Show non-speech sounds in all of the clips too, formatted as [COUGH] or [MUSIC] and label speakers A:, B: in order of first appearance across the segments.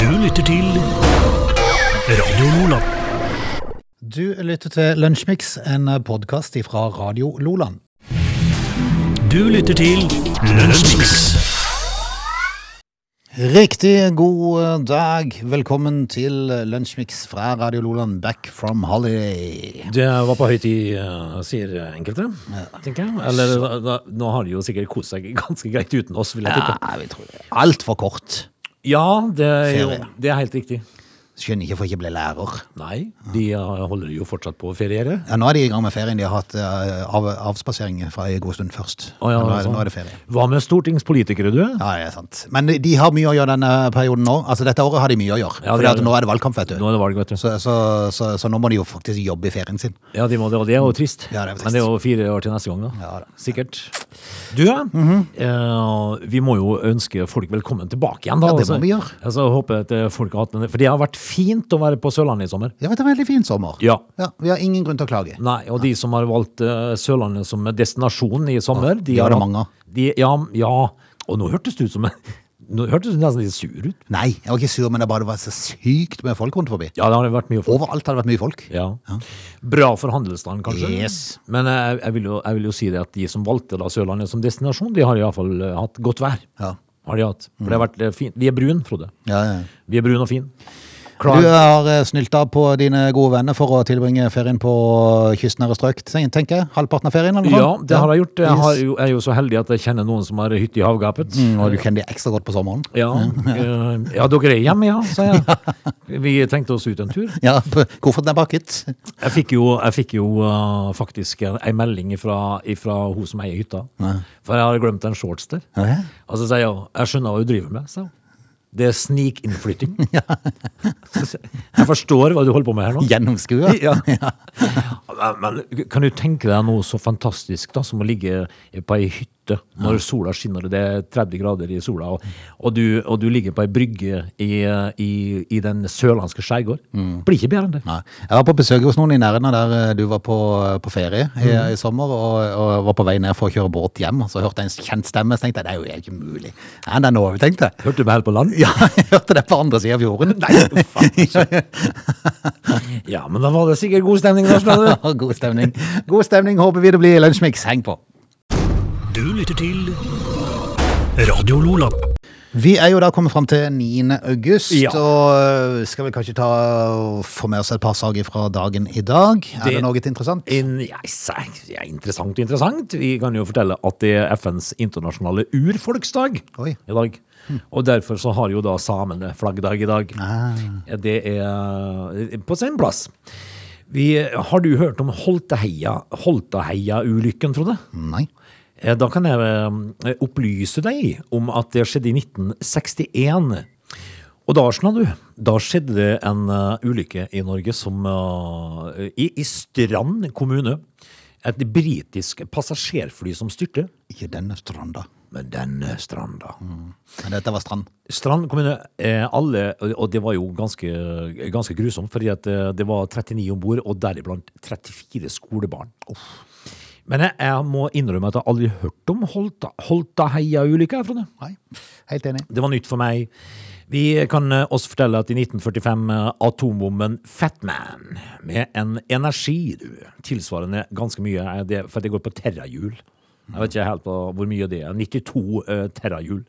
A: Du lytter til Radio Lola.
B: Du lytter til Lunsjmix, en podkast fra Radio Loland.
A: Du lytter til Lunsjmix.
B: Riktig god eh, dag. Velkommen til Lunsjmix fra Radio Loland, back from holiday.
C: Det var på høy tid, eh, sier enkelte, tenker jeg. Eller da- da, nå har de jo sikkert kost seg ganske greit uten oss, vil jeg tippe.
B: Ja, vi tror det. Altfor kort.
C: Ja, det er, jo,
B: Ferie.
C: det er helt riktig.
B: Skjønner ikke hvorfor jeg ikke ble lærer.
C: Nei, de eh, holder jo fortsatt på å feriere.
B: Ja, nå er de i gang med ferien. De har hatt eh, av, avspasering fra en god stund først.
C: Å, ja,
B: Men nå, er,
C: sånn.
B: nå er det ferie.
C: Hva med stortingspolitikere, du?
B: Ja, det er sant. Men de har mye å gjøre denne perioden nå. Altså, dette året har de mye å gjøre.
C: Ja,
B: for
C: de har det.
B: nå er det valgkamp, vet du.
C: Nå er det valg, vet du.
B: Så, så, så, så nå må de jo faktisk jobbe i ferien sin.
C: Ja, de må det, og det er jo trist.
B: Ja, det er jo trist.
C: Men det er jo fire år til neste gang, da.
B: Ja, da. Mhm.
C: Sikkert. Du, eh, vi må jo ønske folk velkommen tilbake igjen, da.
B: Ja, det må
C: altså.
B: vi gjøre.
C: Altså, jeg håper at eh, folk har hatt en For det har vært fint å være på Sørlandet i sommer.
B: Det har vært en veldig fin sommer.
C: Ja.
B: Ja, vi har ingen grunn til å klage.
C: Nei, og de som har valgt eh, Sørlandet som destinasjon i sommer
B: de var det
C: hatt-
B: mange av.
C: De, ja, ja, og nå hørtes det ut som [LAUGHS] Nå hørtes du nesten litt sur ut.
B: Nei, jeg var ikke sur, men det bare var så sykt med folk rundt forbi.
C: Ja, det har vært mye folk.
B: Overalt har det vært mye folk.
C: Ja. Bra for handelsstanden, kanskje.
B: Yes.
C: Men eh, jeg, jeg, vil jo, jeg vil jo si det at de som valgte da Sørlandet som destinasjon, de har iallfall eh, hatt godt vær.
B: Ja.
C: Har de hatt. For det har vært eh, fint. Vi er brun, Frode.
B: Ja, ja.
C: Vi er brun og fin.
B: Du
C: Klar.
B: har eh, snylta på dine gode venner for å tilbringe ferien på kystnære strøk, ten- tenker jeg. Halvparten av ferien, eller noe
C: ja,
B: sånt?
C: det har jeg gjort. Jeg har
B: Yes.
C: jo, er jo så heldig at jeg kjenner noen som har hytte i havgapet.
B: Mm, Og du kjenner de ekstra godt på sommeren?
C: Ja, eh, ja, dere er hjemme, ja, sa jeg. Vi tenkte oss ut en tur.
B: Ja, p- kofferten er bakket. [LAUGHS]
C: Jeg fikk jo, jeg fikk jo eh, faktisk en en melding fra hun som eier hytta. For jeg har glemt en shorts der.
B: Ja, ja.
C: Og så sier hun jeg skjønner hva du driver med. sa hun. Det er snikinnflytting. Jeg forstår hva du holder på med her nå.
B: Gjennomskua. [LAUGHS]
C: Ja. Men, men kan du tenke deg noe så fantastisk da, som å ligge på ei hytte når sola skinner og det er 30 grader i sola, og, og, du, og du ligger på ei brygge i, i, i den sørlandske skjærgård? Blir ikke bedre enn det.
B: Nei. Jeg var på besøk hos noen i nærheten av der eh, du var på, på ferie i,
C: Mm.
B: i sommer, og, og var på vei ned for å kjøre båt hjem. og Så hørte jeg en kjent stemme, så tenkte jeg det er jo helt umulig. Nei, det er nå, tenkte jeg.
C: Hørte du meg helt på land?
B: [LAUGHS] Ja, jeg hørte det på andre siden av fjorden. [LAUGHS] Nei,
C: altså. Ja, men da var det sikkert god stemning. Da, skjønner du.
B: God stemning. God stemning, håper vi det blir i Lunsjmix. Heng på.
A: Du lytter til Radio Lola.
B: Vi er jo da kommet fram til 9. august,
C: Ja.
B: og øh, skal vel kanskje ta og få med oss et par saker fra dagen i dag. Er det,
C: Det-
B: noe interessant?
C: In, ja, sæ- ja, interessant, interessant. Vi kan jo fortelle at det er FNs internasjonale urfolksdag
B: Oi.
C: i dag. Og derfor så har jo da samene flaggdag i dag. Det er på sin plass. Vi, har du hørt om Holteheia- Holtaheia-ulykken, Frode?
B: Nei.
C: Eh, Da kan jeg eh, opplyse deg om at det skjedde i 1961. Og da, Arsenal, du, da skjedde det en eh, ulykke i Norge som eh, i, I Strand kommune. Et britisk passasjerfly som styrte.
B: Ikke denne stranda.
C: Men eh, denne stranda
B: Men dette var strand.
C: Strand kommune, eh, alle, og det var jo ganske, ganske grusomt, fordi at eh, det var 39 om bord, og deriblant 34 skolebarn. Men jeg, jeg må innrømme at jeg aldri har hørt om Holta, Holtaheia-ulykka. Frode.
B: Nei, helt enig.
C: Det var nytt for meg. Vi kan eh, også fortelle at i 1945 eh, atombomben Fatman, med en energi du, tilsvarende ganske mye, eh, det, for det går på terrahjul. Jeg vet ikke helt på hvor mye det er. 92 eh, terrahjul.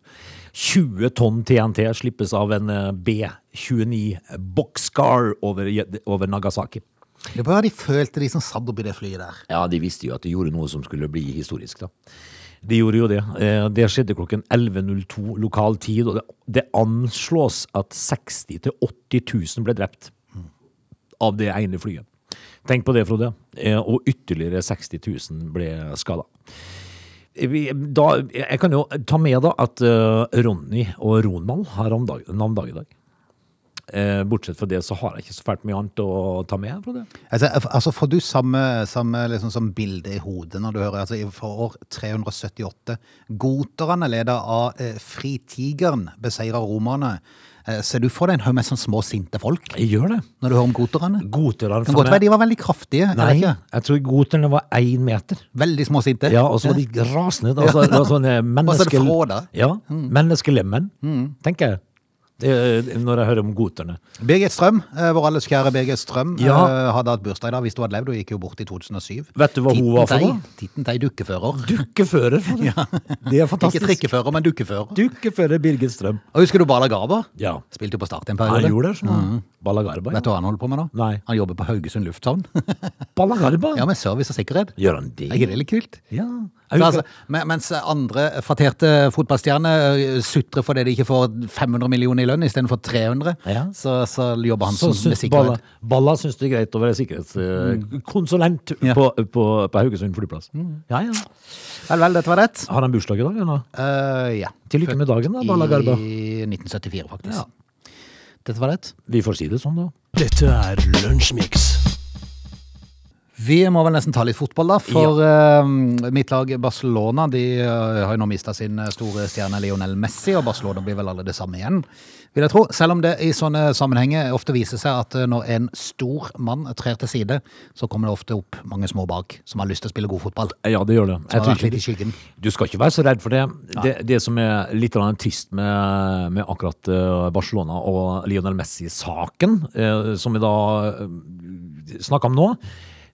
C: 20 tonn TNT slippes av en eh, B-29 Boxcar over, over Nagasaki.
B: Det var de følte de som satt oppi det flyet der.
C: Ja, de visste jo at de gjorde noe som skulle bli historisk, da. De gjorde jo det. Eh, Det skjedde klokken 11.02 lokal tid, og det, det anslås at 60 000-80 000 ble drept av det ene flyet. Tenk på det, Frode. Eh, Og ytterligere 60 000 ble skada. Da, jeg kan jo ta med da at eh, Ronny og Ronald har navndag navnedag i dag. Eh, Bortsett fra det så har jeg ikke så fælt mye annet å ta med. Frode.
B: Altså, altså Får du samme, samme liksom, sånn bilde i hodet når du hører altså, i- For år 378 Goterne, leder av eh, Fritigeren, beseirer romerne. Eh, ser du for deg en haug med sånn små, sinte folk
C: Jeg gjør det.
B: når du hører om goterne?
C: Goterne
B: Kan
C: for
B: godt
C: meg-
B: være de var veldig kraftige. er det
C: Nei,
B: ikke?
C: jeg tror goterne var én meter.
B: Veldig små sinte.
C: Ja, og så var de [LAUGHS] rasende. Altså, det Mm. var sånne
B: Og så er det
C: menneske...
B: frå da.
C: Mm. Ja, menneskelemmen, tenker jeg. Det, er- når jeg hører om goterne.
B: Birgit Strøm, eh, vår alles kjære Birgit Strøm,
C: Ja.
B: eh, hadde hatt bursdag i dag hvis hun hadde levd. Hun gikk jo bort i 2007.
C: Vet du hva hun var for noe?
B: noe? Titten tei dukkefører.
C: Dukkefører. for det. [LAUGHS] Det er
B: Ikke
C: fantastisk.
B: trikkefører, men dukkefører.
C: Dukkefører Birgit Strøm.
B: Og Husker du Bala Garber?
C: Ja.
B: Spilte jo på Start en
C: Han
B: periode.
C: gjorde det. sånn. Balagarba.
B: Vet du hva
C: Ja.
B: han holder på med nå?
C: Nei.
B: Han jobber på Haugesund
C: [LAUGHS]
B: lufthavn.
C: Balagarba?
B: ja, med service og sikkerhet.
C: Gjør han det?
B: Er ikke det litt kult?
C: Ja.
B: Så
C: Jeg
B: altså,
C: husker,
B: men- mens andre fatterte fotballstjerner eh, sutrer fordi de ikke får 500 millioner i lønn istedenfor 300,
C: Ja.
B: så, så jobber han
C: så
B: som med
C: syns Balla,
B: sikkerhet.
C: Balla syns det er greit å være sikkerhetskonsulent
B: Ja.
C: på, på, på Haugesund flyplass. Mm. Ja, ja.
B: Vel, vel, dette var rett.
C: Har han bursdag i dag, eller?
B: Eh, ja.
C: Til lykke med dagen, da, Balla Garba.
B: I 1974, faktisk.
C: Ja.
B: Dette var det.
C: Vi får si det sånn, da.
A: Dette er Lunsjmix.
B: Vi må vel nesten ta litt fotball, da. For eh, mitt lag Barcelona de eh, har jo nå mista sin eh, store stjerne Lionel Messi, og Barcelona blir vel aldri det samme igjen, vil jeg tro. Selv om det i sånne sammenhenger ofte viser seg at eh, når en stor mann trer til side, så kommer det ofte opp mange små bak som har lyst til å spille god fotball.
C: Ja, det gjør det.
B: Som har
C: tror
B: vært litt i
C: ikke-
B: skyggen.
C: Du skal ikke være så redd for det. Det, det som er litt grann trist med, med akkurat eh, Barcelona og Lionel Messi-saken, eh, som vi da eh, snakker om nå,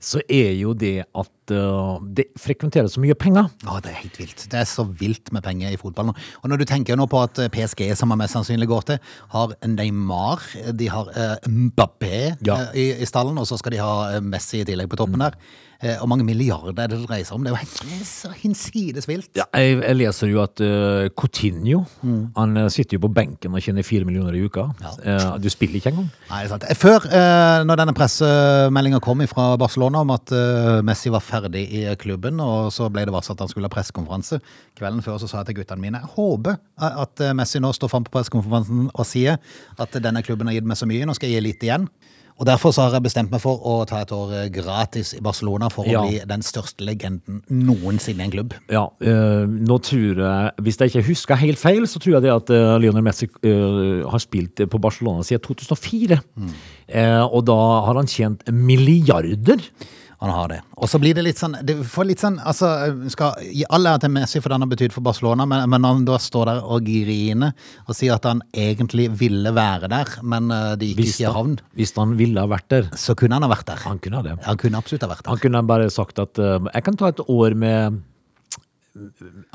C: så er jo det at eh, det frekventeres så mye penger.
B: Ja, det er helt vilt. Det er så vilt med penger i fotball nå. Og når du tenker nå på at eh, PSG, som han mest sannsynlig går til, har Neymar, de har eh, Mbappé
C: Ja.
B: eh, i, i stallen, og så skal de ha eh, Messi i tillegg på toppen der. Eh, og mange milliarder er det det dreier seg om. Det er jo helt det er så hinsides vilt.
C: Ja, jeg, jeg leser jo at eh, Coutinho han eh, sitter jo på benken og tjener fire millioner i uka. Eh, du spiller ikke engang.
B: Nei, det er sant. Før, eh, når denne pressemeldinga kom fra Barcelona om at eh, Messi var ferdig i klubben, og så ble det varslet at han skulle ha pressekonferanse, kvelden før så sa jeg til guttene mine jeg håper at eh, Messi nå står fram på pressekonferansen og sier at denne klubben har gitt meg så mye, nå skal jeg gi litt igjen. Og Derfor så har jeg bestemt meg for å ta et år eh, gratis i Barcelona for
C: Ja.
B: å bli den største legenden noensinne i en klubb.
C: Ja, eh, nå tror jeg Hvis jeg ikke husker helt feil, så tror jeg det at eh, Lionel Messi eh, har spilt på Barcelona siden 2004.
B: Mm.
C: Eh, og da har han tjent milliarder.
B: Han har det. Og så blir det litt sånn, det får litt sånn altså, skal gi all ære til Messi for det han har betydd for Barcelona, men, men når han da står der og griner og sier at han egentlig ville være der, men eh, det gikk ikke i havn,
C: han, hvis han ville ha vært der.
B: så kunne han ha vært der.
C: Han kunne ha det.
B: Han kunne absolutt ha vært der.
C: Han kunne bare sagt at eh, jeg kan ta et år med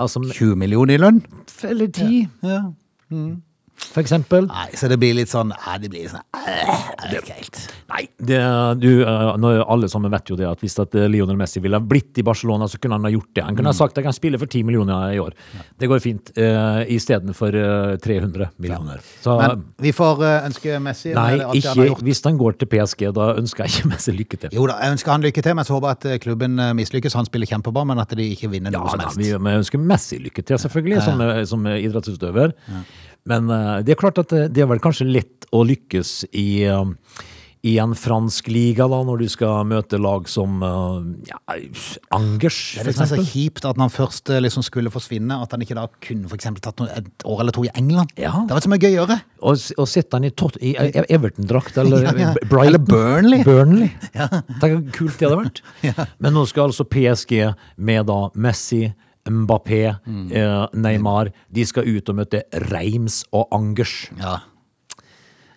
C: Altså
B: 20 millioner i lønn?
C: Eller ti,
B: Ja. Mm.
C: for eksempel.
B: Nei, så det blir litt sånn Nei, det blir litt sånn eh, jeg vet ikke helt.
C: Nei, det, du, eh, nå- alle sammen vet jo det at hvis at eh, Lionel Messi ville ha blitt i Barcelona, så kunne han ha gjort det. Han kunne ha
B: Mm.
C: sagt jeg kan spille for 10 millioner i år. Det går fint. Uh, Istedenfor uh, 300 millioner. Så,
B: Men vi får eh, ønske Messi med
C: nei,
B: alt det han har
C: ikke
B: gjort.
C: hvis han går til PSG. Da ønsker jeg ikke Messi lykke til.
B: Jo da, jeg ønsker han lykke til, men så håper jeg at eh, klubben eh, mislykkes. Han spiller kjempebra, men at de ikke vinner
C: Ja,
B: noe som
C: da,
B: helst.
C: vi, vi ønsker Messi lykke til, selvfølgelig, som, eh, som eh, idrettsutøver. Men eh, det er klart at eh, det er vel kanskje lett å lykkes i, eh, i en fransk liga, da, når du skal møte lag som eh, ja, Angers,
B: Det er
C: for
B: liksom så
C: eksempel.
B: kjipt at når han først eh, liksom skulle forsvinne, at han ikke da kunne for eksempel tatt noe, et år eller to i England.
C: Ja.
B: Det var så mye gøy å gjøre.
C: Og, s- og sette han i, tot, i i Everton-drakt, eller
B: Ja, ja.
C: B- Brighton.
B: Eller Burnley.
C: Burnley. Tenk hvor kult det hadde
B: [LAUGHS]
C: vært. Men nå skal altså PSG med da Messi, Mbappé,
B: Mm.
C: eh, Neymar De skal ut og møte Reims og Angers.
B: Ja.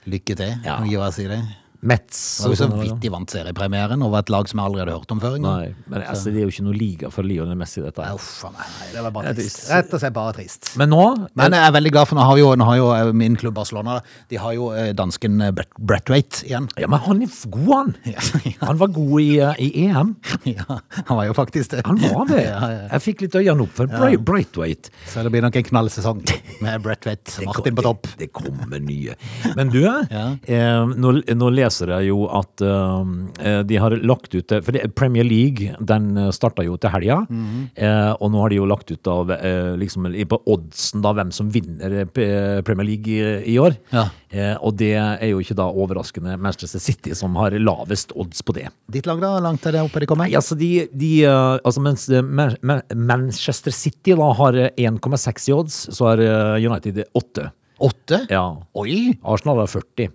B: Lykke til,
C: Ja.
B: kan jeg bare si det.
C: Metz.
B: Det var
C: og
B: jo så
C: sånn,
B: vidt de vant seriepremieren over et lag som jeg aldri hadde hørt om før. engang.
C: Nei, men altså, det er jo ikke noe liga for Lionel Messi, dette her.
B: Uff, nei, det var bare
C: Det er
B: trist.
C: trist.
B: Rett og slett bare trist.
C: Men nå
B: Men jeg er veldig glad, for nå har jo, nå har jo eh, min klubb Barcelona De har jo eh, dansken eh, Brett- Brathwaite igjen. [LAUGHS]
C: Ja, men han er f- god, han!
B: Ja.
C: Han var god i, eh, i EM.
B: Ja, han var jo faktisk det.
C: Han var det!
B: [LAUGHS] Ja, ja.
C: Jeg fikk litt øynene opp for Bra- Braithwaite.
B: Så det blir nok en knallsesong med Brathwaite og Martin på topp.
C: Det, det kommer nye. Men du,
B: [LAUGHS] Ja.
C: eh, nå, nå leser jeg jo at eh, de har lagt ut det- For det, Premier League den starta jo til helga,
B: Mhm.
C: eh, og nå har de jo lagt ut av eh, liksom, i- på oddsen da, hvem som vinner eh, P- Premier League i, i år.
B: Ja.
C: Eh, og det er jo ikke da overraskende Manchester City som har lavest odds på det.
B: Ditt lag, da? Langt er det oppe de kommer?
C: Nei, altså, de, de, eh, altså mens eh, Man- Man- Manchester City da har eh, 1,6 i odds, så har eh, United 8.
B: Åtte?
C: Ja.
B: Oi!
C: Arsenal har 40.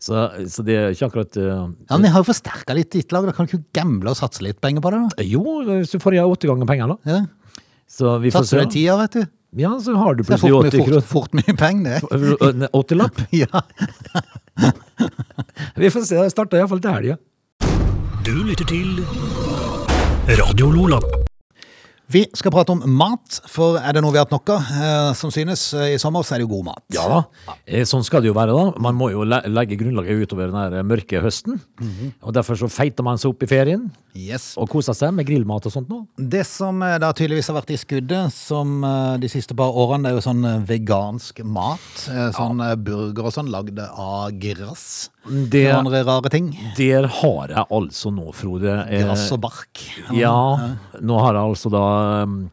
C: Så, så det er ikke akkurat eh,
B: Ja, men jeg har jo forsterka litt ditt lag. Da kan du ikke gamble og satse litt penger på det? da?
C: Jo, så får jeg åtte ganger penger, da.
B: Ja.
C: Så vi
B: Satser
C: får se.
B: du en tier, vet du?
C: Ja, så har du
B: Det er
C: plutselig
B: fort, mye-
C: 80
B: fort,
C: kroner.
B: fort mye penger,
C: [LAUGHS]
B: det.
C: 80-lapp?
B: Ja.
C: Vi får se, det starter iallfall til helga.
A: Du lytter til Radio Lola.
B: Vi skal prate om mat, for er det noe vi har hatt nok av, eh, som synes, eh, i sommer, så er det jo god mat.
C: Ja da. Eh, Sånn skal det jo være, da. Man må jo le legge grunnlaget utover den her eh, mørke høsten.
B: Mhm.
C: Og Derfor så feiter man seg opp i ferien
B: Yes.
C: og koser seg med grillmat og sånt nå.
B: Det som eh, da tydeligvis har vært i skuddet som eh, de siste par årene, det er jo sånn eh, vegansk mat. eh, Sånn eh, burger og sånn, lagd av gress.
C: Det-
B: Og andre rare ting.
C: Der har jeg altså nå, Frode eh,
B: Gress og bark.
C: Ja, nå har jeg altså da um,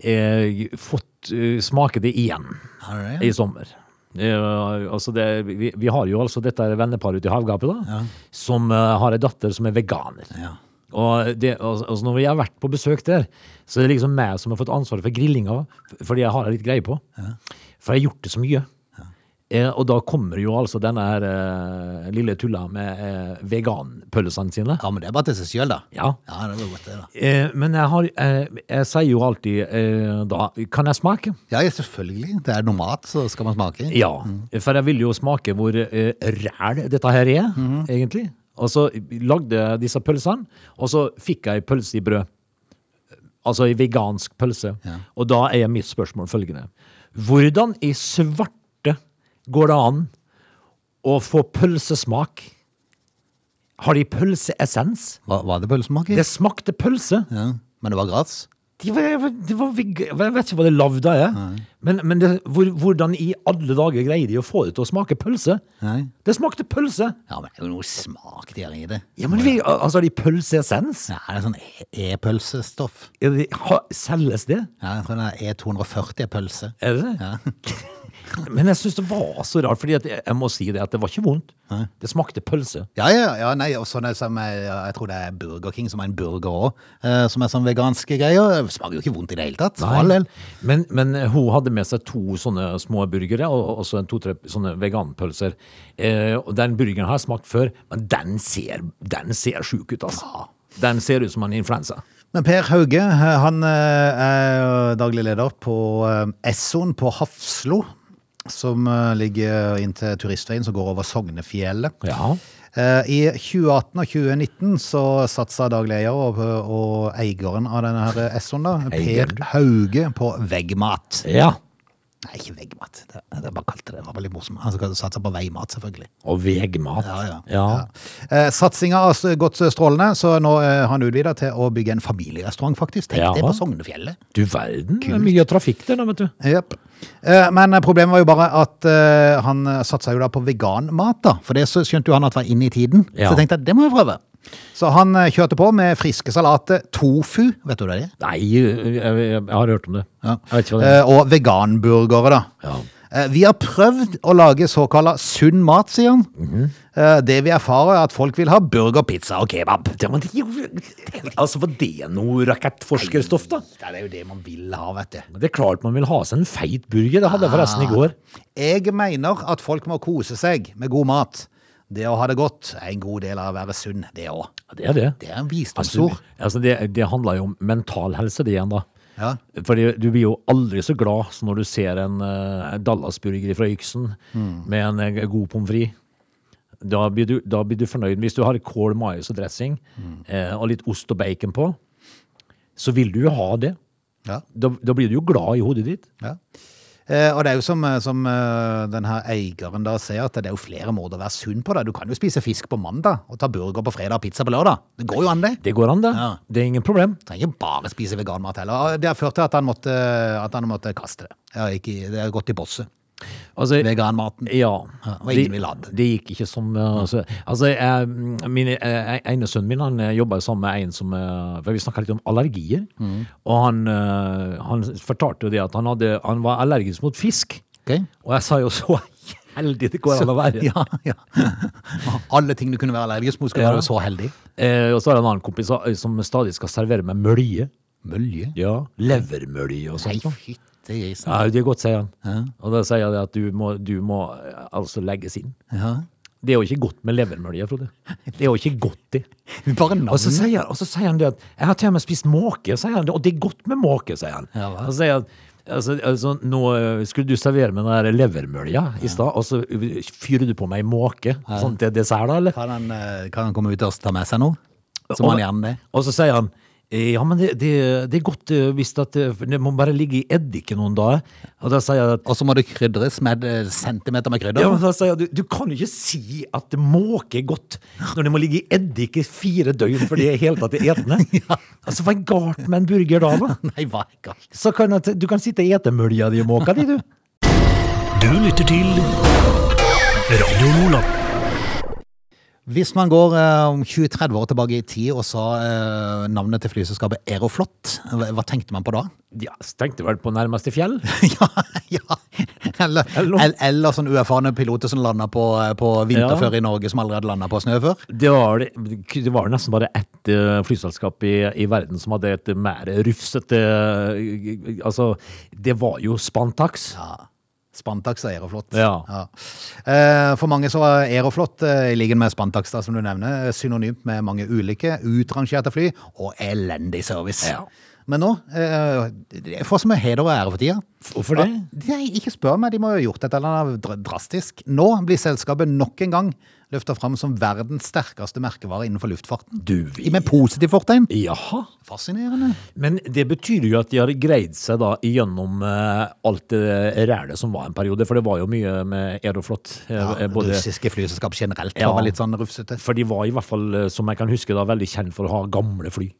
C: eh, fått eh, smake det igjen
B: All right.
C: i sommer. Eh, altså det, vi, vi har jo altså dette venneparet ute i havgapet, da, som eh, har ei datter som er veganer.
B: Ja.
C: Og det, altså, altså når jeg har vært på besøk der, så er det liksom meg som har fått ansvaret for grillinga, f- fordi jeg har litt greie på. For jeg har gjort det så mye. Eh, og da kommer jo altså denne her eh, lille tulla med eh, veganpølsene sine.
B: ja, men det er bare til seg sjøl, da.
C: Ja.
B: Ja, det var godt, det, da.
C: Eh, men jeg, har, eh, jeg sier jo alltid eh, da Kan jeg smake?
B: Ja, ja, selvfølgelig. Det er noe mat, så skal man smake.
C: Ja. For jeg vil jo smake hvor eh, ræl dette her er, egentlig. Og så lagde jeg disse pølsene, og så fikk jeg ei pølse i brød. Altså ei vegansk pølse.
B: Ja.
C: Og da er mitt spørsmål følgende. Hvordan i svarte går det an å få pølsesmak? Har de pølseessens?
B: Var, var det pølsemaking?
C: Det smakte pølse.
B: Ja. Men det var gress?
C: De var, de var, veg- jeg vet ikke hva det lavd av er. Men, men det, hvor, hvordan i alle dager greier de å få det til å smake pølse?
B: Nei.
C: Det smakte pølse!
B: Ja, men det er jo noe smak der i det.
C: Ja, men vi, altså, Har de pølseessens?
B: Ja, det er sånn E- e-pølsestoff.
C: Er det- ha- Selges det?
B: Ja, jeg tror det er E240-pølse.
C: Er det det? [LAUGHS] men jeg syns det var så rart, Fordi at jeg, jeg må si det at det var ikke vondt. Det smakte pølse.
B: Ja, ja, ja, nei, og sånn er det som er, ja, jeg tror det er Burger King som er en burger òg, eh, som er sånn veganske greier. Det Smaker jo ikke vondt i det hele tatt. for all del.
C: Men, men hun hadde med seg to sånne små burgere og og så en to-tre sånne veganpølser. Eh, og den burgeren har jeg smakt før, men den ser, den ser sjuk ut, altså. Den ser ut som en influensa.
B: Men Per Hauge, eh, han eh, er jo daglig leder på eh, Essoen på Hafslo, som eh, ligger inntil turistveien som går over Sognefjellet.
C: Ja.
B: Eh, I 2018 og 2019 så satsa daglig leder og, og eieren av denne her Essoen, da, Per
C: Eieren.
B: Hauge, på veggmat.
C: ja.
B: Nei, ikke veggmat. Det, det bare kalte det. Det var veldig morsomt. Han skal satse på veimat, selvfølgelig.
C: Og vegmat.
B: Ja, ja. Eh, Satsinga har s- gått strålende, så nå eh, har han utvida til å bygge en familierestaurant, faktisk. Tenk
C: Ja.
B: det på Sognefjellet.
C: Du verden. Det er mye trafikk der, da, vet du.
B: Jep. Eh, Men eh, problemet var jo bare at eh, han eh, satsa jo da på veganmat, da. For det så skjønte jo han at var inne i tiden. Så
C: Ja.
B: jeg tenkte at det må jeg prøve. Så han eh, kjørte på med friske salater, tofu, vet du hva det er?
C: Nei, jeg, jeg, jeg har hørt om det.
B: Ja.
C: Jeg vet ikke hva det er.
B: Eh, Og veganburgere, da.
C: Ja.
B: Eh, Vi har prøvd å lage såkalla sunn mat, sier han. Eh, Det vi erfarer, er at folk vil ha burger, pizza og kebab.
C: Det var, altså, var det noe rakettforskerstoff, da?
B: Ja, Det er jo det man vil ha, vet du.
C: Det er klart man vil ha seg en feit burger. Det hadde jeg forresten i går.
B: Jeg mener at folk må kose seg med god mat. Det å ha det godt er en god del av å være sunn, det òg.
C: Ja, Det er det.
B: Det er en
C: Altså,
B: visdomsord.
C: altså det, det handler jo om mental helse, det igjen, da.
B: Ja.
C: Fordi du blir jo aldri så glad som når du ser en eh, Dallasburger fra Yksen med en eh, god pommes frites. Da, blir du- da blir du fornøyd. Hvis du har kål, mais og dressing eh, og litt ost og bacon på, så vil du jo ha det.
B: Ja.
C: Da, da blir du jo glad i hodet ditt.
B: Ja. Eh, og det er jo som, eh, som eh, den her eieren da sier, at det er jo flere måter å være sunn på. Da. Du kan jo spise fisk på mandag og ta burger på fredag og pizza på lørdag. Det går jo an, det.
C: Det går an, det.
B: Ja.
C: Det er ingen problem.
B: trenger ikke bare spise veganmat heller. Det har ført til at han måtte, at han måtte kaste det. Ja, ikke, det har gått i bosset.
C: Altså,
B: Veganmaten.
C: Ja.
B: Ja, og ingen vil ha det.
C: Det gikk ikke som uh, altså, altså, jeg, mm, min eh, ene sønnen min han eh, jobber sammen med en som eh, For vi snakka litt om allergier.
B: Mm.
C: Og han, eh, han fortalte jo det at han, hadde, han var allergisk mot fisk.
B: Ok.
C: Og jeg sa jo [LAUGHS] så heldig det går an å være.
B: [LAUGHS] Ja, ja. Alle ting du kunne være allergisk mot, skal
C: Ja.
B: være så heldig.
C: Eh, og så har jeg en annen kompis eh, som stadig skal servere meg mølje.
B: Mølje?
C: Ja, Levermølje og
B: Nei,
C: sånt. noe.
B: fytte grisen.
C: Ja, det er godt, sier han. Og da sier jeg det at du må, du må eh, altså legges inn.
B: Ja.
C: Det er jo ikke godt med levermølje, Frode. Det er jo ikke godt, det.
B: Bare
C: Og så
B: navnet.
C: sier, og så sier han det at 'jeg har til og med spist måke', sier han. Og det er godt med måke, sier han.
B: Ja, hva?
C: og så sier han Altså, altså, nå eh, skulle du servere med den der levermølja i stad, og så fyrer du på meg måke sånn til dessert, da, eller?
B: Kan han, eh, kan han komme ut og ta med seg noe? Så må
C: Og-
B: han gjerne det.
C: Og så sier han eh, ja, men det, det, det er godt eh, hvis at eh, for det må bare ligge i eddik i noen dager. Og da sier jeg at
B: Og så må det krydres med eh, centimeter med krydder.
C: ja, men da sier jeg, du, du kan jo ikke si at måke er godt når det må ligge i eddik i fire døgn for det er helt tatt er [LAUGHS] etende. Altså, hva er galt med en burger da, da?
B: [LAUGHS] Nei, hva er galt?
C: Så kan at, du kan sitte og ete mølja di i måka di, du.
A: Du lytter til Radio Lola.
B: Hvis man går eh, om 20-30 år tilbake i tid og sa eh, navnet til flyselskapet Aeroflot, hva, hva tenkte man på da? [LAUGHS]
C: Ja, så tenkte vel på nærmeste fjell.
B: ja, ja. Eller,
C: Eller-
B: eller, eller sånn uerfarne piloter som landa på, eh, på vinterføre i Norge, som allerede landa på snø før.
C: Det var, det, det var nesten bare ett eh, flyselskap i, i verden som hadde et mer rufsete eh, Altså, det var jo Spantax.
B: Ja. Spantax og Aeroflot.
C: Ja.
B: Eh, For mange så er Aeroflot, eh, i liggen med Spantax, da, som du nevner, eh, synonymt med mange ulike utrangerte fly og elendig service.
C: Ja.
B: Men nå eh, det er Få som er heder og ære for tida.
C: Hvorfor det?
B: Nei, ikke spør meg, de må jo ha gjort et eller annet dr- drastisk. Nå blir selskapet nok en gang løfta fram som verdens sterkeste merkevare innenfor luftfarten.
C: Du vi-
B: Med positiv fortegn.
C: Jaha.
B: Fascinerende.
C: Men det betyr jo at de har greid seg da gjennom eh, alt det rælet som var en periode, for det var jo mye med Aeroflot. eh, eh, både,
B: Russiske flyselskap generelt
C: Ja.
B: var vel litt sånn rufsete.
C: for de var i hvert fall, eh, som jeg kan huske, da, veldig kjent for å ha gamle fly.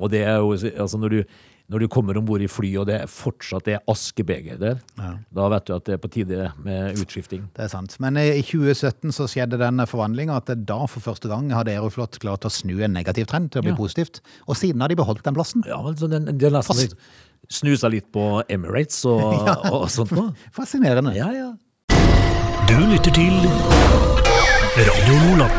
C: Og det er jo altså når du, når du kommer om bord i fly, og det er fortsatt det er askebeger der, da vet du at det er på tide med utskifting.
B: Det er sant. Men i i 2017 så skjedde den forvandlinga at da for første gang hadde Aeroflot klart å snu en negativ trend til å bli
C: Ja.
B: positivt. Og siden har de beholdt den plassen.
C: Ja, altså den, det er nesten litt, snusa litt på Emirates og, [LAUGHS] og sånt noe.
B: Fascinerende.
C: Ja, ja.
A: Du lytter til Radio Lola.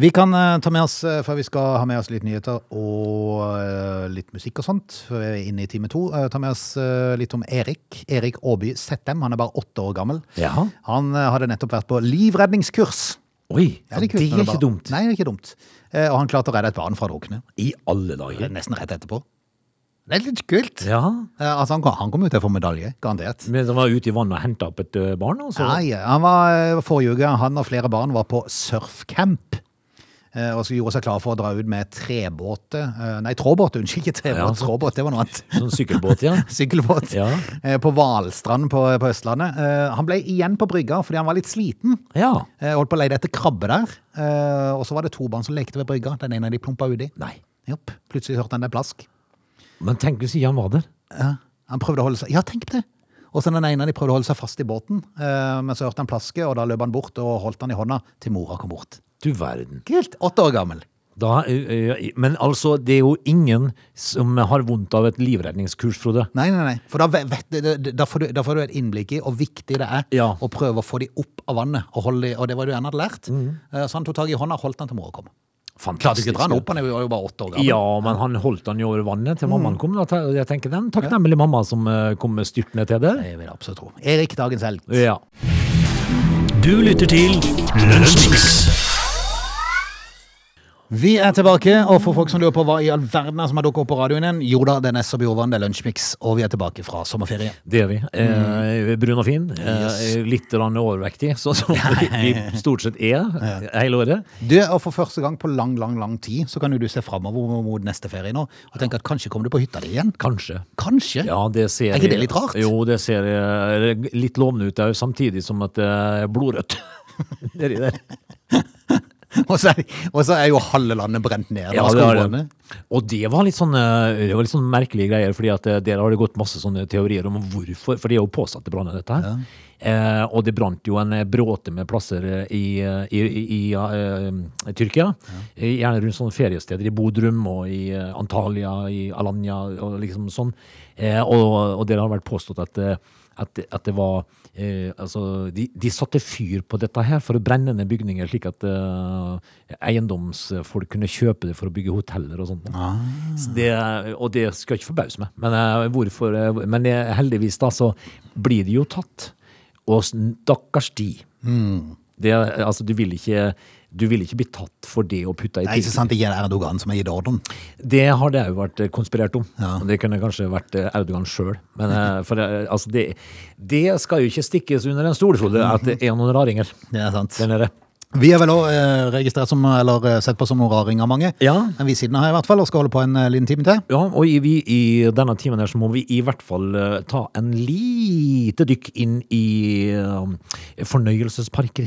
B: Vi kan eh, ta med oss, eh, for vi skal ha med oss litt nyheter og eh, litt musikk og sånt, før vi er inne i time to. Eh, ta med oss eh, litt om Erik. Erik Aaby Settem, han er bare åtte år gammel.
C: Ja.
B: Han eh, hadde nettopp vært på livredningskurs.
C: Oi,
B: Ja,
C: det
B: kult
C: er
B: når
C: ikke
B: bare-
C: dumt.
B: Nei, det er ikke dumt. Eh, Og han klarte å redde et barn fra å drukne.
C: I alle dager.
B: Nesten rett etterpå. Det er litt kult.
C: Ja,
B: Eh, Altså, han, kom- han kom ut til å få medalje, garantert.
C: men de var ute i vannet og henta opp et ø, barn? Altså.
B: Nei, han var eh, forrige uke, han og flere barn var på surfcamp. eh, Og så gjorde seg klar for å dra ut med trebåte, eh, nei tråbåt, unnskyld, ikke
C: Ja,
B: trebåt,
C: så-
B: tråbåt, det var noe annet. [LAUGHS]
C: Sånn sykkelbåt, ja.
B: Sykkelbåt
C: Ja.
B: eh, på Valstrand på, på Østlandet. Eh, Han ble igjen på brygga fordi han var litt sliten.
C: ja.
B: Eh, Holdt på å leide etter krabbe der. Eh, Og så var det to barn som lekte ved brygga, den ene de plumpa uti.
C: Nei.
B: Jopp, plutselig hørte han det plask.
C: Men tenk hvis ikke han var der.
B: Ja, han prøvde å holde seg Ja, tenk det! Og så den ene de prøvde å holde seg fast i båten, eh, men så hørte han plaske, og da løp han bort og holdt han i hånda til mora kom bort.
C: Du verden.
B: Kult! Åtte år gammel.
C: Da, ø, ø, men altså, det er jo ingen som har vondt av et livredningskurs, Frode.
B: Nei, nei, nei. For da, ve- vet, du- da, får, du, da får du et innblikk i hvor viktig det er
C: Ja.
B: å prøve å få de opp av vannet. Og, holde, de- og det var det du gjerne hadde lært. Eh, Så han tok tak i hånda og holdt han til mora kom. Klarte ikke å dra han opp, han var jo bare åtte år gammel.
C: Ja, men han holdt han jo over vannet til mammaen kom. Da. Te- Jeg tenker den takknemlig mamma som ø, kom styrtende til det.
B: Det vil jeg absolutt tro. Erik, dagens helt.
C: Ja.
A: Du lytter til Lunsjmix.
B: Vi er tilbake, og for folk som lurer på hva i all verden er som har dukket opp på radioen igjen, jo da, det er Ness og Bjorvann, det er Lunsjmix, og vi er tilbake fra sommerferie.
C: Det er vi. Eh, brun og fin. Eh, litt grann overvektig, sånn som vi stort sett er hele året.
B: Du, og For første gang på lang lang, lang tid så kan jo du se framover mot neste ferie nå og tenke at kanskje kommer du på hytta di igjen.
C: Kanskje.
B: Kanskje.
C: Ja, det ser
B: Er ikke det litt rart?
C: Jo, det ser eh, litt lovende ut òg, samtidig som at det er blodrødt. [LAUGHS] Nedi der.
B: [LAUGHS] Og, så er, og så er jo halve landet brent ned.
C: Ja,
B: av
C: det er det.
B: skogbrannene.
C: Og det var litt sånn eh, Det var litt sånn merkelige greier, fordi at eh, der har det gått masse sånne teorier om hvorfor. For det er jo påsatt det brann, dette her. Eh, og det brant jo en eh, bråte med plasser eh, i, eh, i, i, i ja, eh, Tyrkia. Eh, Gjerne rundt sånne feriesteder i Bodrum og i eh, Antalya, i Alanya og liksom sånn. Eh, og, og der har det vært påstått at eh, at, at det var eh, Altså, de, de satte fyr på dette her for å brenne ned bygninger, slik at eh, eiendomsfolk kunne kjøpe det for å bygge hoteller og sånt.
B: Ah.
C: Så det, og det skal ikke forbause meg. Men, eh, hvorfor, eh, men
B: Mm.
C: eh, heldigvis, da, så blir de jo tatt. Og s- stakkars de. Det, er- altså, du, vil ikke, du vil ikke bli tatt for det og putta i
B: Nei, ikke sant, det er Erdogan som har gitt ordren.
C: Det har det òg vært eh, konspirert om.
B: Ja.
C: Og Det kunne kanskje vært eh, Audun sjøl. Men eh, for, eh, altså, det, det skal jo ikke stikkes under en stol, Frode, at det er noen raringer
B: Det er sant.
C: der nede.
B: Vi er vel òg eh, registrert som, eller eh, sett på som noen raringer, mange.
C: Ja.
B: Men vi siden har i hvert fall, og skal holde på en eh, liten time til.
C: Ja, og i, vi, i denne timen her så må vi i hvert fall eh, ta en lite dykk inn i eh, fornøyelsesparker.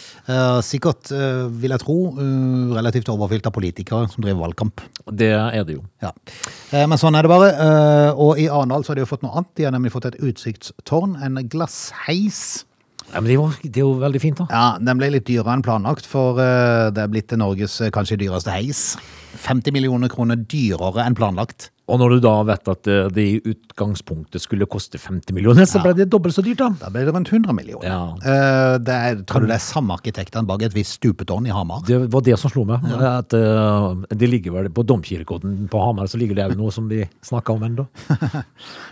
B: Eh, Sikkert, eh, vil jeg tro, eh, relativt overfylt av politikere som driver valgkamp.
C: Det er det jo.
B: Ja. Eh, Men sånn er det bare. Eh, Og i Arendal så har de jo fått noe annet. De har nemlig fått et utsiktstårn, en glassheis.
C: Ja, men det, var, det er jo veldig fint, da.
B: Ja, Den ble litt dyrere enn planlagt, for eh, det er blitt til Norges eh, kanskje dyreste heis. 50 millioner kroner dyrere enn planlagt.
C: Og når du da vet at eh, det i utgangspunktet skulle koste 50 millioner, så ble det dobbelt så dyrt, da.
B: Da ble det rundt 100 millioner.
C: Ja.
B: Eh, det er, tror du det er samme arkitektene bak et visst stupetårn i Hamar?
C: Det var det som slo meg. At, eh, det ligger vel på Domkirkeodden på Hamar, så ligger det jo noe som vi snakka om ennå.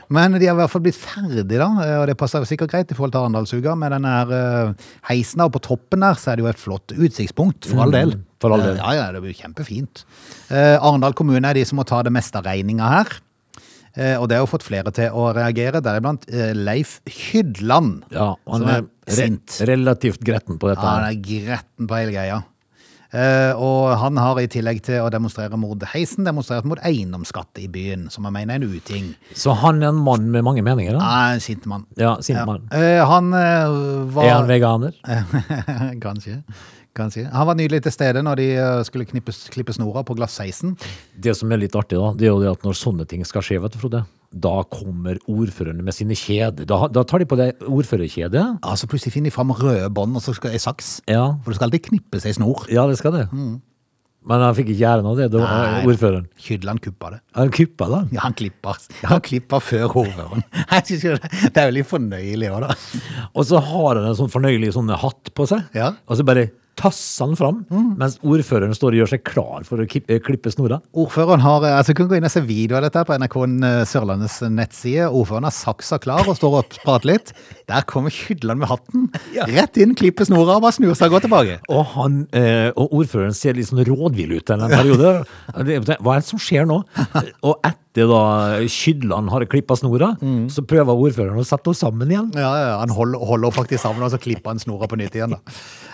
B: Men de har i hvert fall blitt ferdig, da, eh, og det passer sikkert greit i forhold til Arendalsuka. Med den her eh, heisen der, og på toppen der, så er det jo et flott utsiktspunkt, for all del.
C: Mm, for all del.
B: Eh, Ja, ja, det blir jo kjempefint. Eh, Arendal kommune er de som må ta det meste av regninga her. Eh, og det har jo fått flere til å reagere, deriblant eh, Leif Hydland.
C: Ja, han
B: som
C: er
B: er
C: re
B: sint.
C: relativt gretten på dette.
B: Ja, han
C: her.
B: er gretten på hele greia. Eh, og han har i tillegg til å demonstrere mot heisen, demonstrert mot eiendomsskatt i byen, som han mener er en uting.
C: Så han er en mann med mange meninger, da.
B: Ah, en sint mann.
C: Ja, sint
B: Ja.
C: mann.
B: Eh, han eh, var
C: Er han veganer?
B: [LAUGHS] Kanskje. Kanskje. Han var nydelig til stede når de eh, skulle knippes, klippe snora på glassheisen.
C: Det som er litt artig, da, det er jo det at når sånne ting skal skje, vet du, Frode, da kommer ordførerne med sine kjeder. Da, da tar de på deg ordførerkjedet.
B: Ja, Ah, så plutselig finner de fram røde bånd og så skal ei saks.
C: Ja.
B: For det skal alltid knippes ei snor. Ah,
C: ja, det skal det. Men han fikk ikke æren av det, det var
B: Nei.
C: ordføreren.
B: Kydland kuppa det.
C: Han kuppa da.
B: Ja, han klipper. Han klipper før [LAUGHS] hovedhåren. Jeg synes jo Det det er jo litt fornøyelig òg, da.
C: Og så har han en sånn fornøyelig sånn hatt på seg,
B: Ja.
C: og så bare tasser han fram, mens ordføreren står og gjør seg klar for å kip- eh, klippe snora.
B: Ordføreren har, altså kan gå inn og se video av dette her på NRK eh, Sørlandets nettside. Ordføreren har saksa klar og står og prater litt. Der kommer Kydland med hatten.
C: Ja.
B: Rett inn, klipper snora og bare snur seg og går tilbake.
C: Og, han, eh, og ordføreren ser litt sånn rådvill ut en [LAUGHS] periode. Det- Hva er det som skjer [LAUGHS] nå? Og etter da Skydland har klippa snora, så prøver ordføreren å sette oss sammen igjen.
B: Ja, ja, Han holder, holder faktisk sammen, og så klipper han snora på nytt igjen. da.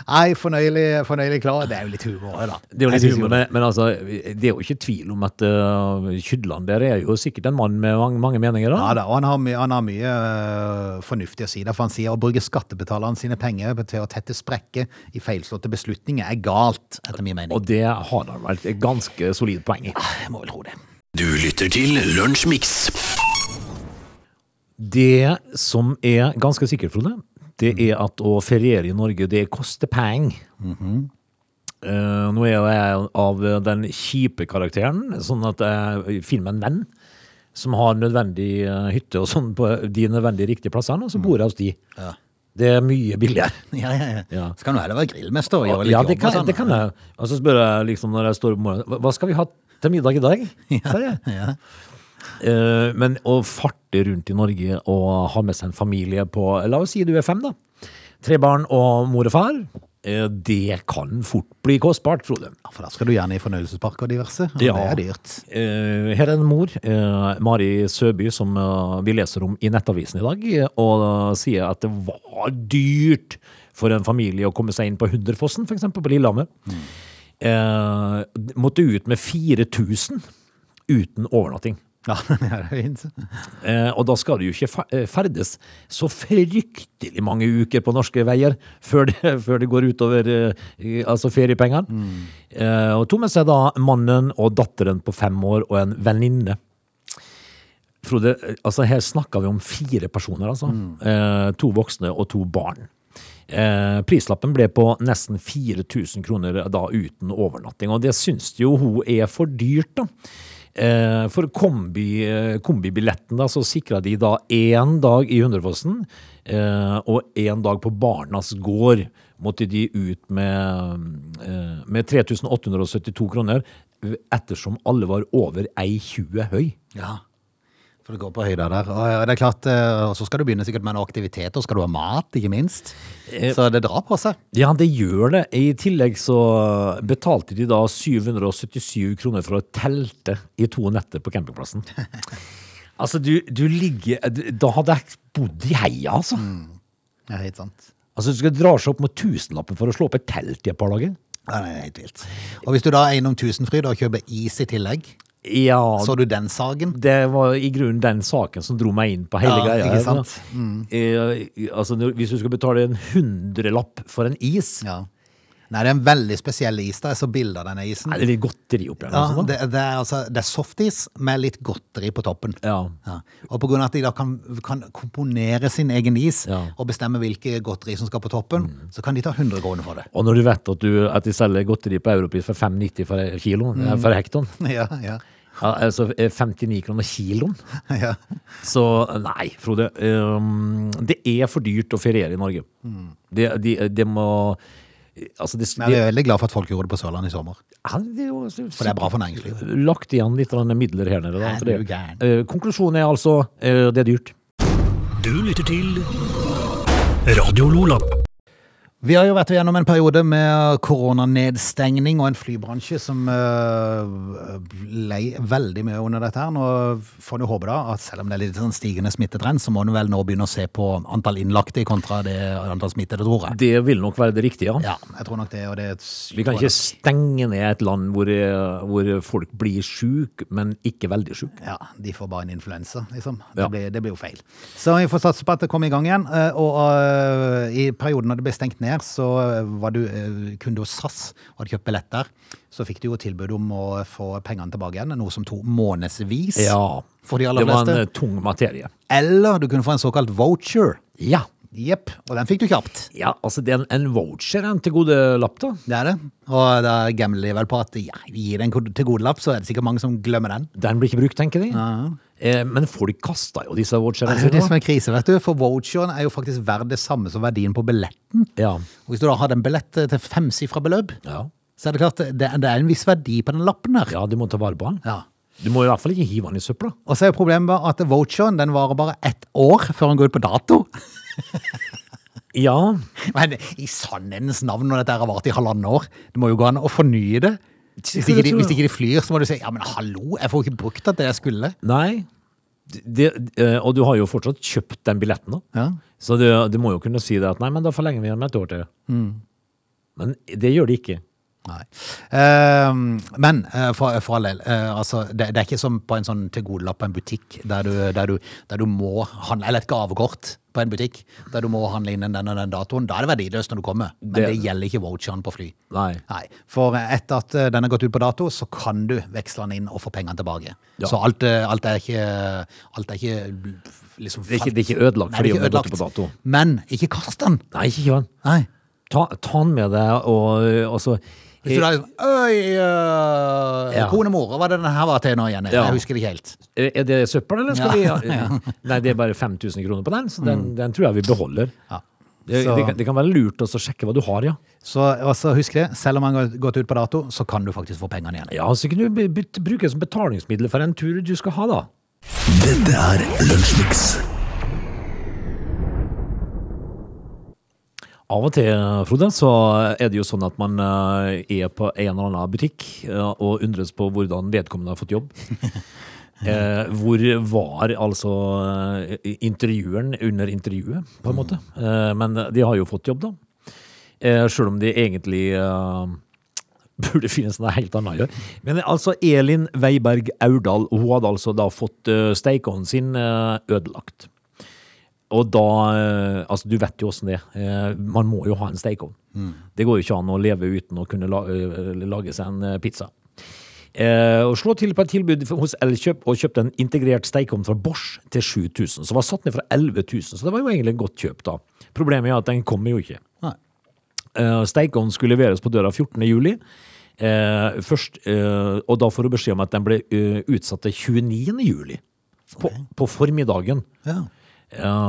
B: Nei, fornøyelig, fornøyelig klar. Det er jo litt humor òg, da.
C: Det er jo
B: Jeg
C: litt
B: synes
C: humor, men, men altså, det er jo ikke tvil om at eh, Skydland der er jo sikkert en mann med mange, mange meninger.
B: Ja
C: da.
B: da, og han har, my han har mye øh, fornuftig å si der, for han sier å bruke skattebetalerne sine penger til å tette sprekker i feilslåtte beslutninger er galt, etter min mening. Ah,
C: Og det har han vel et ganske solid poeng i.
B: Jeg må vel tro det.
A: Du lytter til Lunsjmix.
C: Det som er ganske sikkert, Frode, det
A: Mm.
C: er at å feriere i Norge, det koster penger.
A: Mhm.
C: Eh, nå er jo jeg av den kjipe karakteren, sånn at jeg finner meg en venn som har nødvendig eh, hytte og sånn på de nødvendige riktige plassene,
A: Mm.
C: og så bor jeg hos de.
B: Ja.
C: Det er mye billigere.
B: [LAUGHS] Ja, ja, ja.
C: Ja.
B: Så kan du heller være grillmester og gjøre litt
C: Ja, det
B: jobb og
C: kan,
B: sånn.
C: det kan jeg. Og så spør jeg liksom når jeg står opp om morgenen, "Hva- hva skal vi ha til middag i dag? Sier jeg. Eh, Men å farte rundt i Norge og ha med seg en familie på La oss si du er fem, da. Tre barn og mor og far. eh, Det kan fort bli kostbart, Frode.
B: Ja, For da skal du gjerne i fornøyelsespark og diverse. og Det er dyrt. [LAUGHS]
C: Eh, Her er en mor, eh, Mari Søby, som eh, vi leser om i Nettavisen i dag, eh, og eh, sier at det var dyrt for en familie å komme seg inn på Hunderfossen, f.eks. på Lillehammer. Eh, Måtte ut med 4000 uten overnatting.
B: Ja, det er fint.
C: Eh, og da skal du jo ikke fe- eh, ferdes så fryktelig mange uker på norske veier før det, [LAUGHS] før det går utover eh, i- altså feriepengene. Eh, og tok med seg da mannen og datteren på fem år og en venninne. Frode, eh, altså her snakker vi om fire personer, altså. Eh, to voksne og to barn. Eh, prislappen ble på nesten 4000 kroner da uten overnatting, og det syns jo hun er for dyrt, da. Eh, for kombi, eh, kombibilletten da, så sikra de da én dag i Hundrefossen eh, og én dag på Barnas gård. Måtte de ut med, eh, med 3872 kroner, ettersom alle var over ei 20 høy.
B: Ja. For det går på høyder der. Og eh, det er klart, eh, og så skal du begynne sikkert med noen aktiviteter, og skal du ha mat, ikke minst.
C: Eh.
B: Så det drar på seg.
C: Ja, det gjør det. I tillegg så betalte de da 777 kroner for å telte i to netter på campingplassen.
B: [LAUGHS]
C: Altså, du, du ligger du- Da hadde jeg bodd i heia, altså.
B: Mm. Det er helt sant.
C: Altså, Du skal dra seg opp mot tusenlappen for å slå opp et telt i et par dager.
B: Ja, det er helt vilt. Og hvis du da er innom Tusenfryd og kjøper is i tillegg,
C: Ja,
B: så du den sagen?
C: det var i grunnen den saken som dro meg inn på hele
B: Ja,
C: greia.
B: ikke
C: her,
B: sant? Mm.
C: da. Eh, altså, når- Hvis du skal betale en hundrelapp for en is,
B: Ja. Nei, det er en veldig spesiell is. da. Jeg så bilder av denne isen.
C: er det litt godteri oppi her.
B: Ja,
C: altså, da.
B: det, det, er altså, det er softis med litt godteri på toppen.
C: Ja.
B: Og på grunn av at de da kan, kan komponere sin egen is
C: Ja. Mm.
B: og bestemme hvilke godteri som skal på toppen, så kan de ta 100 kroner for det.
C: Og når du vet at, du, at de selger godteri på europris for 5,90 for kiloen,
B: Mm.
C: eh, for hekton,
B: Ja, ja,
C: [LAUGHS] ja, altså eh, 59 kroner kiloen,
B: [LAUGHS] ja.
C: så nei, Frode, ehm, det er for dyrt å feriere i Norge. Det, de, de må, altså det,
B: Men
C: de,
B: jeg Mm. er veldig glad for at folk gjorde det på Sørlandet i sommer.
C: ja, det er jo-
B: For det er bra for næringslivet.
C: Lagt igjen litt grann midler her nede. Da,
B: Er
C: for det-
B: du gæren?
C: Eh, konklusjonen er altså, eh, det er dyrt.
A: Du lytter til Radio Lola.
B: Vi har jo vært igjennom en periode med koronanedstengning og en flybransje som eh, ble veldig mye under dette her. Nå får du håpe da at selv om det er litt sånn stigende smittetrend, så må du vel nå begynne å se på antall innlagte kontra det antall smittede, tror jeg.
C: Det vil nok være det riktige, ja.
B: Ja, jeg tror nok det. Og det
C: Mm. Vi kan ikke stenge ned et land hvor, eh, hvor folk blir syk, men ikke veldig syk.
B: Ja, de får bare en influensa, liksom.
C: Ja.
B: Det, blir, det blir jo feil. Så vi får satse på at det kommer i gang igjen. eh, Og eh, i perioden da det ble stengt ned, så var du eh, kunde hos SAS og hadde kjøpt billett der. Så fikk du jo tilbud om å få pengene tilbake igjen, noe som tok månedsvis
C: Ja.
B: for de aller
C: det var en eh,
B: fleste.
C: tung materie.
B: Eller du kunne få en såkalt voucher.
C: Ja.
B: Jepp, og den fikk du kjapt.
C: ja altså det er en, en voucher, en til gode lapp, da.
B: Det er det. Og da gambler de vel på at ja, vi gir den til god lapp, så er det sikkert mange som glemmer den.
C: Den blir ikke brukt, tenker de. eh, men folk kasta jo disse voucherene
B: Altså, Det er jo det som
C: sine. da.
B: er krise, vet du. For voucheren er jo faktisk verdt det samme som verdien på billetten.
C: Ja.
B: Og Hvis du da har en billett til femsifra beløp,
C: Ja.
B: så er det klart det, det er en viss verdi på den lappen her.
C: ja, du må ta vare på den.
B: Ja.
C: Du må i hvert fall ikke hive den i søpla.
B: Og så er jo problemet bare at voucheren den varer bare ett år [LAUGHS] før den går ut på dato.
C: Ja,
B: Men i sannhetens navn, når dette her har vart i halvannet år, det må jo gå an å fornye det. Hvis ikke, de, hvis ikke de flyr, så må du si ja, men hallo, jeg får jo ikke brukt at det jeg skulle.
C: nei. Det, eh, og du har jo fortsatt kjøpt den billetten, da.
B: Ja.
C: Så du, du må jo kunne si det at nei, men da forlenger vi den med et år til.
B: Mm.
C: Men det gjør de ikke.
B: Nei. Ehm, men eh, for, for all del, eh, altså, det, det er ikke som på en sånn til gode lapp på en butikk, der du, der, du, der du må handle, eller et gavekort på en butikk, der du må handle innen den og den datoen. Da er det verdiløst når du kommer, men det,
C: Det-
B: gjelder ikke voucheren på fly.
C: Nei.
B: For etter at eh, den er gått ut på dato, så kan du veksle den inn og få pengene tilbake.
C: Ja.
B: Så alt, eh, alt er ikke, alt er ikke liksom
C: Det er ikke-
B: falt-
C: det er ikke
B: Nei,
C: ødelagt
B: det er
C: fordi
B: ikke
C: om det er gått
B: ødelagt.
C: ut på dato.
B: Men ikke kast den!
C: Nei, ikke hiv den.
B: Nei.
C: Ta, ta den med deg, og, og så
B: Hvis du da er sånn Øy, øh,
C: Ja.
B: konemor, hva var det den her var til nå igjen?
C: Ja.
B: Jeg husker det ikke helt.
C: Er er det søppel, eller skal
B: Ja. [LAUGHS]
C: vi Nei, det er bare 5000 kroner på den, så den, den tror jeg vi beholder.
B: Ja.
C: Det,
B: Så-
C: det, kan, det kan være lurt også å sjekke hva du har, ja.
B: Så altså, husk det, selv om han har gått ut på dato, så kan du faktisk få pengene igjen.
C: Ja, så kan du be- be- bruke det som betalingsmiddel for en tur du skal ha, da.
A: Dette er Lunsjmix.
C: Av og til, Frode, så er det jo sånn at man eh, er på en eller annen butikk eh, og undres på hvordan vedkommende har fått
A: [LAUGHS]
C: jobb. Eh, hvor var altså eh, intervjueren under intervjuet, på
A: Mm.
C: en måte. Eh, men de har jo fått jobb, da. Eh, Sjøl om de egentlig eh, burde finnes noe helt annet å gjøre. Men altså, Elin Weiberg Aurdal, hun hadde altså da fått uh, steikeovnen sin eh, ødelagt. Og da eh, Altså, du vet jo åssen det er. Eh, Man må jo ha en stekeovn. Det går jo ikke an å leve uten å kunne la, eh, lage seg en eh, pizza. Eh, og slå til på et tilbud hos Elkjøp og kjøpte en integrert steikovn fra Bosch til 7000, som var satt ned fra 11 000, så det var jo egentlig et godt kjøp da. Problemet er at den kommer jo ikke.
B: Nei.
C: Eh, Steikovnen skulle leveres på døra 14. juli. Eh, først, eh, og da får du beskjed om at den ble eh, utsatt til 29. juli. På, på formiddagen.
B: Ja.
C: Eh,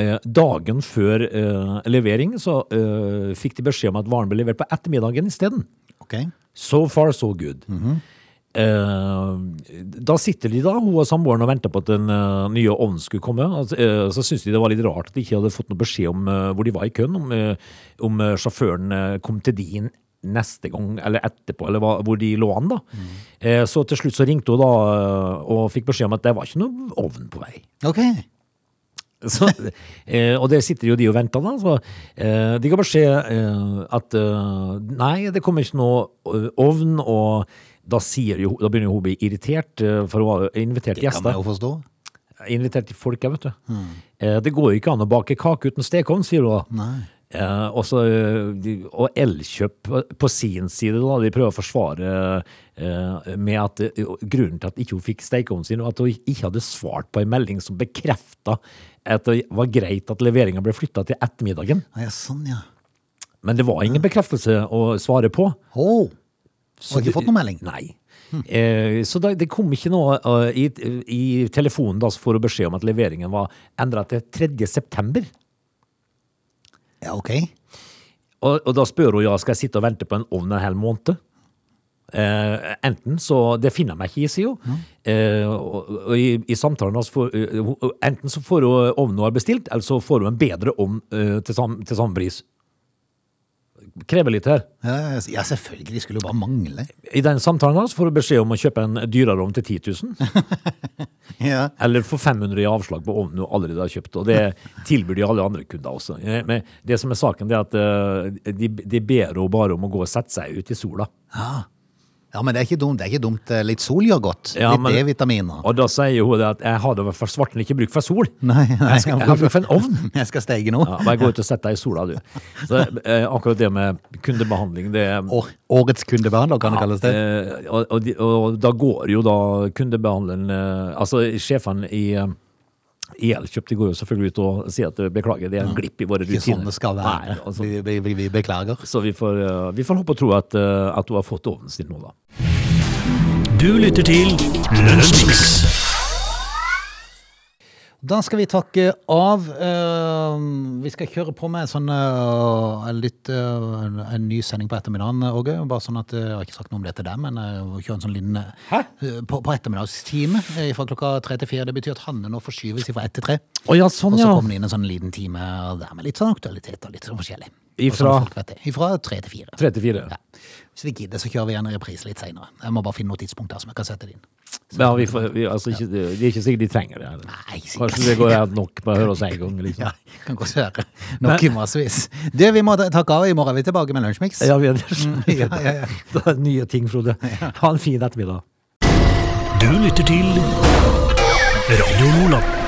C: eh, dagen før eh, levering så eh, fikk de beskjed om at varen ble levert på ettermiddagen isteden.
B: Ok.
C: So far, so good. Eh, da sitter de da, hun og samboeren, og venter på at den eh, nye ovnen skulle komme. Altså, eh, så syntes de det var litt rart at de ikke hadde fått noe beskjed om eh, hvor de var i køen, om, eh, om eh, sjåføren eh, kom til de neste gang, eller etterpå, eller hva, hvor de lå an da. Eh, så til slutt så ringte hun da, eh, og fikk beskjed om at det var ikke noen ovn på vei.
B: Ok.
C: [LAUGHS] Så, eh, og der sitter jo de og venter, da. Så, eh, de ga beskjed eh, at eh, nei, det kommer ikke noe eh, ovn, og da, sier jo, da begynner jo hun å bli irritert, eh, for hun har jo invitert
B: Det kan
C: gjester.
B: jeg jo forstå.
C: Invitert folk, jeg, vet du.
B: Hmm.
C: Eh, det går jo ikke an å bake kake uten stekeovn, sier hun da.
B: Nei.
C: Eh, og så, eh, de- og Elkjøp eh, på sin side, da, de prøver å forsvare eh, med at eh, grunnen til at ikke hun fikk stekeovnen sin, var at hun ikke hadde svart på en melding som bekrefta at det var greit at leveringa ble flytta til ettermiddagen.
B: Ah, Ja, sånn, ja.
C: Men det var ingen bekreftelse å svare på.
B: Å! har ikke
C: det-
B: fått noen melding?
C: Nei. Eh, så da, det kom ikke noe eh, i, I telefonen da, så får hun beskjed om at leveringen var endra til 3. september.
B: Ja, ok.
C: Og, og da spør hun ja, skal jeg sitte og vente på en ovn en hel måned? Eh, enten så Det finner jeg meg ikke i, sier hun. Eh, og, og i, i samtalen hans får, eh, hun- Enten så får hun eh, ovnen hun har bestilt, eller så får hun en bedre ovn eh, til, sam, til samme pris. Krever litt her.
B: Ja, ja, ja, selvfølgelig. Skulle jo bare mangle.
C: I den samtalen hans får hun beskjed om å kjøpe en dyrere ovn til 10 000.
B: Ja.
C: Eller få 500 i avslag på ovnen hun allerede har kjøpt. Og det tilbyr de alle andre kunder også. Eh, Men det som er saken, det er at eh, de, de ber henne bare om å gå og sette seg ut i sola.
B: ja, men det er ikke dumt. Det er ikke dumt. Eh, Litt sol gjør godt.
C: Ja,
B: Litt
C: men-
B: D-vitaminer.
C: Og da sier hun det at jeg har da i hvert fall svarten ikke bruk for sol.
B: Nei, nei,
C: jeg, skal, jeg har bruk for en ovn.
B: [LAUGHS] Jeg skal steige nå.
C: Ja, bare gå ut og sett deg i sola, du. Så eh, akkurat det med kundebehandling, det
B: År- Årets kundebehandler, kan det kalles det.
C: eh, og, og, de- og da går jo da kundebehandleren eh, Altså sjefene i eh, i Elkjøp de går jo selvfølgelig ut og sier at eh, beklager, det er en glipp i våre
B: Ikke sånn
C: rutiner.
B: det skal være.
C: Nei, altså,
B: vi, vi, vi, vi beklager.
C: så vi får, eh, vi får håpe og tro at, eh, at hun har fått ovnen sin nå, da.
A: Du lytter til Lunsjmix.
B: Da skal vi takke av. Eh, Vi skal kjøre på med sånn, eh, en, litt, eh, en en ny sending på ettermiddagen, Åge. Bare sånn at eh, Jeg har ikke sagt noe om det til deg, men eh, vi kjører en sånn liten eh, eh, på, på ettermiddagstime eh, fra klokka tre til fire. Det betyr at Hanne nå forskyves fra ett til tre.
C: Å ja, sånn,
B: Og så
C: ja.
B: kommer det inn en sånn liten time der med litt sånn aktualitet og litt sånn forskjellig. Og
C: Ifra?
B: sånn folk vet det. Ifra tre til fire.
C: 34.
B: Ja. Hvis vi gidder, så kjører vi en reprise litt seinere. Jeg må bare finne noe tidspunkt der som jeg kan sette det inn.
C: Ja, vi får, vi, altså, ikke, det det er ikke sikkert de trenger det. heller.
B: Nei, ikke sikkert.
C: Kanskje det går helt nok på å høre oss en gang. Liksom.
B: Ja, kan godt høre. Nok i massevis. Du, vi må takke av. I morgen er vi tilbake med Lunsjmix.
C: Ja, vi er det.
B: Mm. ja, ja, ja.
C: Det er nye ting, Frode. Ha en fin ettermiddag.
A: Du lytter til Radio Lola.